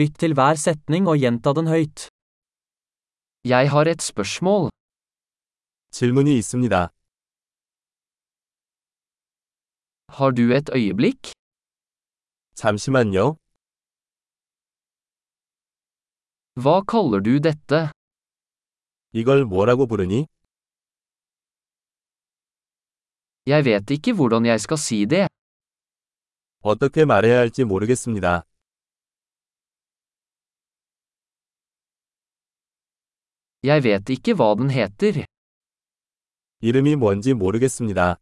Lytt til hver setning og gjenta den høyt. Jeg har et spørsmål. 질문이 있습니다. Har du et øyeblikk? 잠시만요. Hva kaller du dette? 이걸 뭐라고 부르니? Jeg vet ikke hvordan jeg skal si det. 어떻게 말해야 할지 모르겠습니다. Jeg vet ikke hva den heter. 이름이 뭔지 모르겠습니다.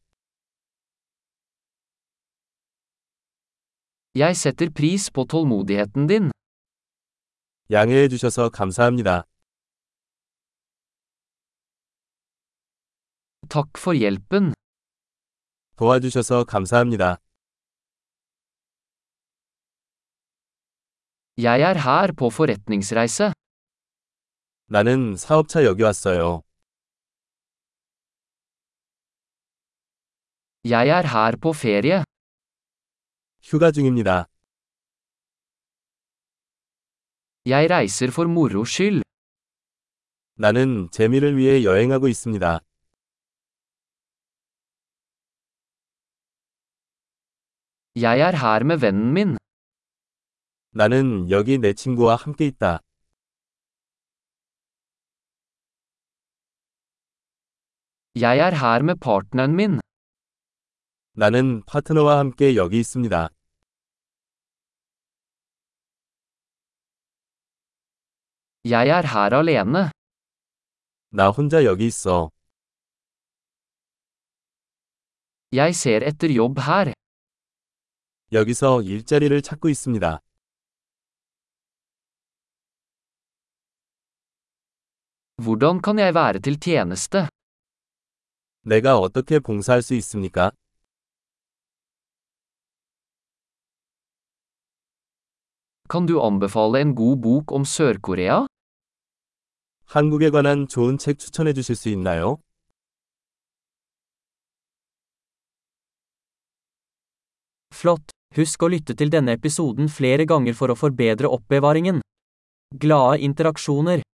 Jeg setter pris på tålmodigheten din. 양해해 주셔서 감사합니다. Takk for hjelpen. 도와주셔서 감사합니다. Jeg er her på forretningsreise. 나는 사업차 여기 왔어요. Jeg er her på ferie. 휴가 중입니다. Jeg reiser for moro skyld. 나는 재미를 위해 여행하고 있습니다. Jeg er her med vennen min. 나는 여기 내 친구와 함께 있다. Jeg er her med partneren min. 나는 파트너와 함께 여기 있습니다. Jeg er her alene. 나 혼자 여기 있어. Jeg ser etter jobb her. 여기서 일자리를 찾고 있습니다. Hvordan kan jeg være til tjeneste? 내가 어떻게 봉사할 수 있습니까? Kan du anbefale en god bok om Sør-Korea? 한국에 관한 좋은 책 추천해 주실 수 있나요? Flott! Husk å lytte til denne episoden flere ganger for å forbedre oppbevaringen. Glade interaksjoner!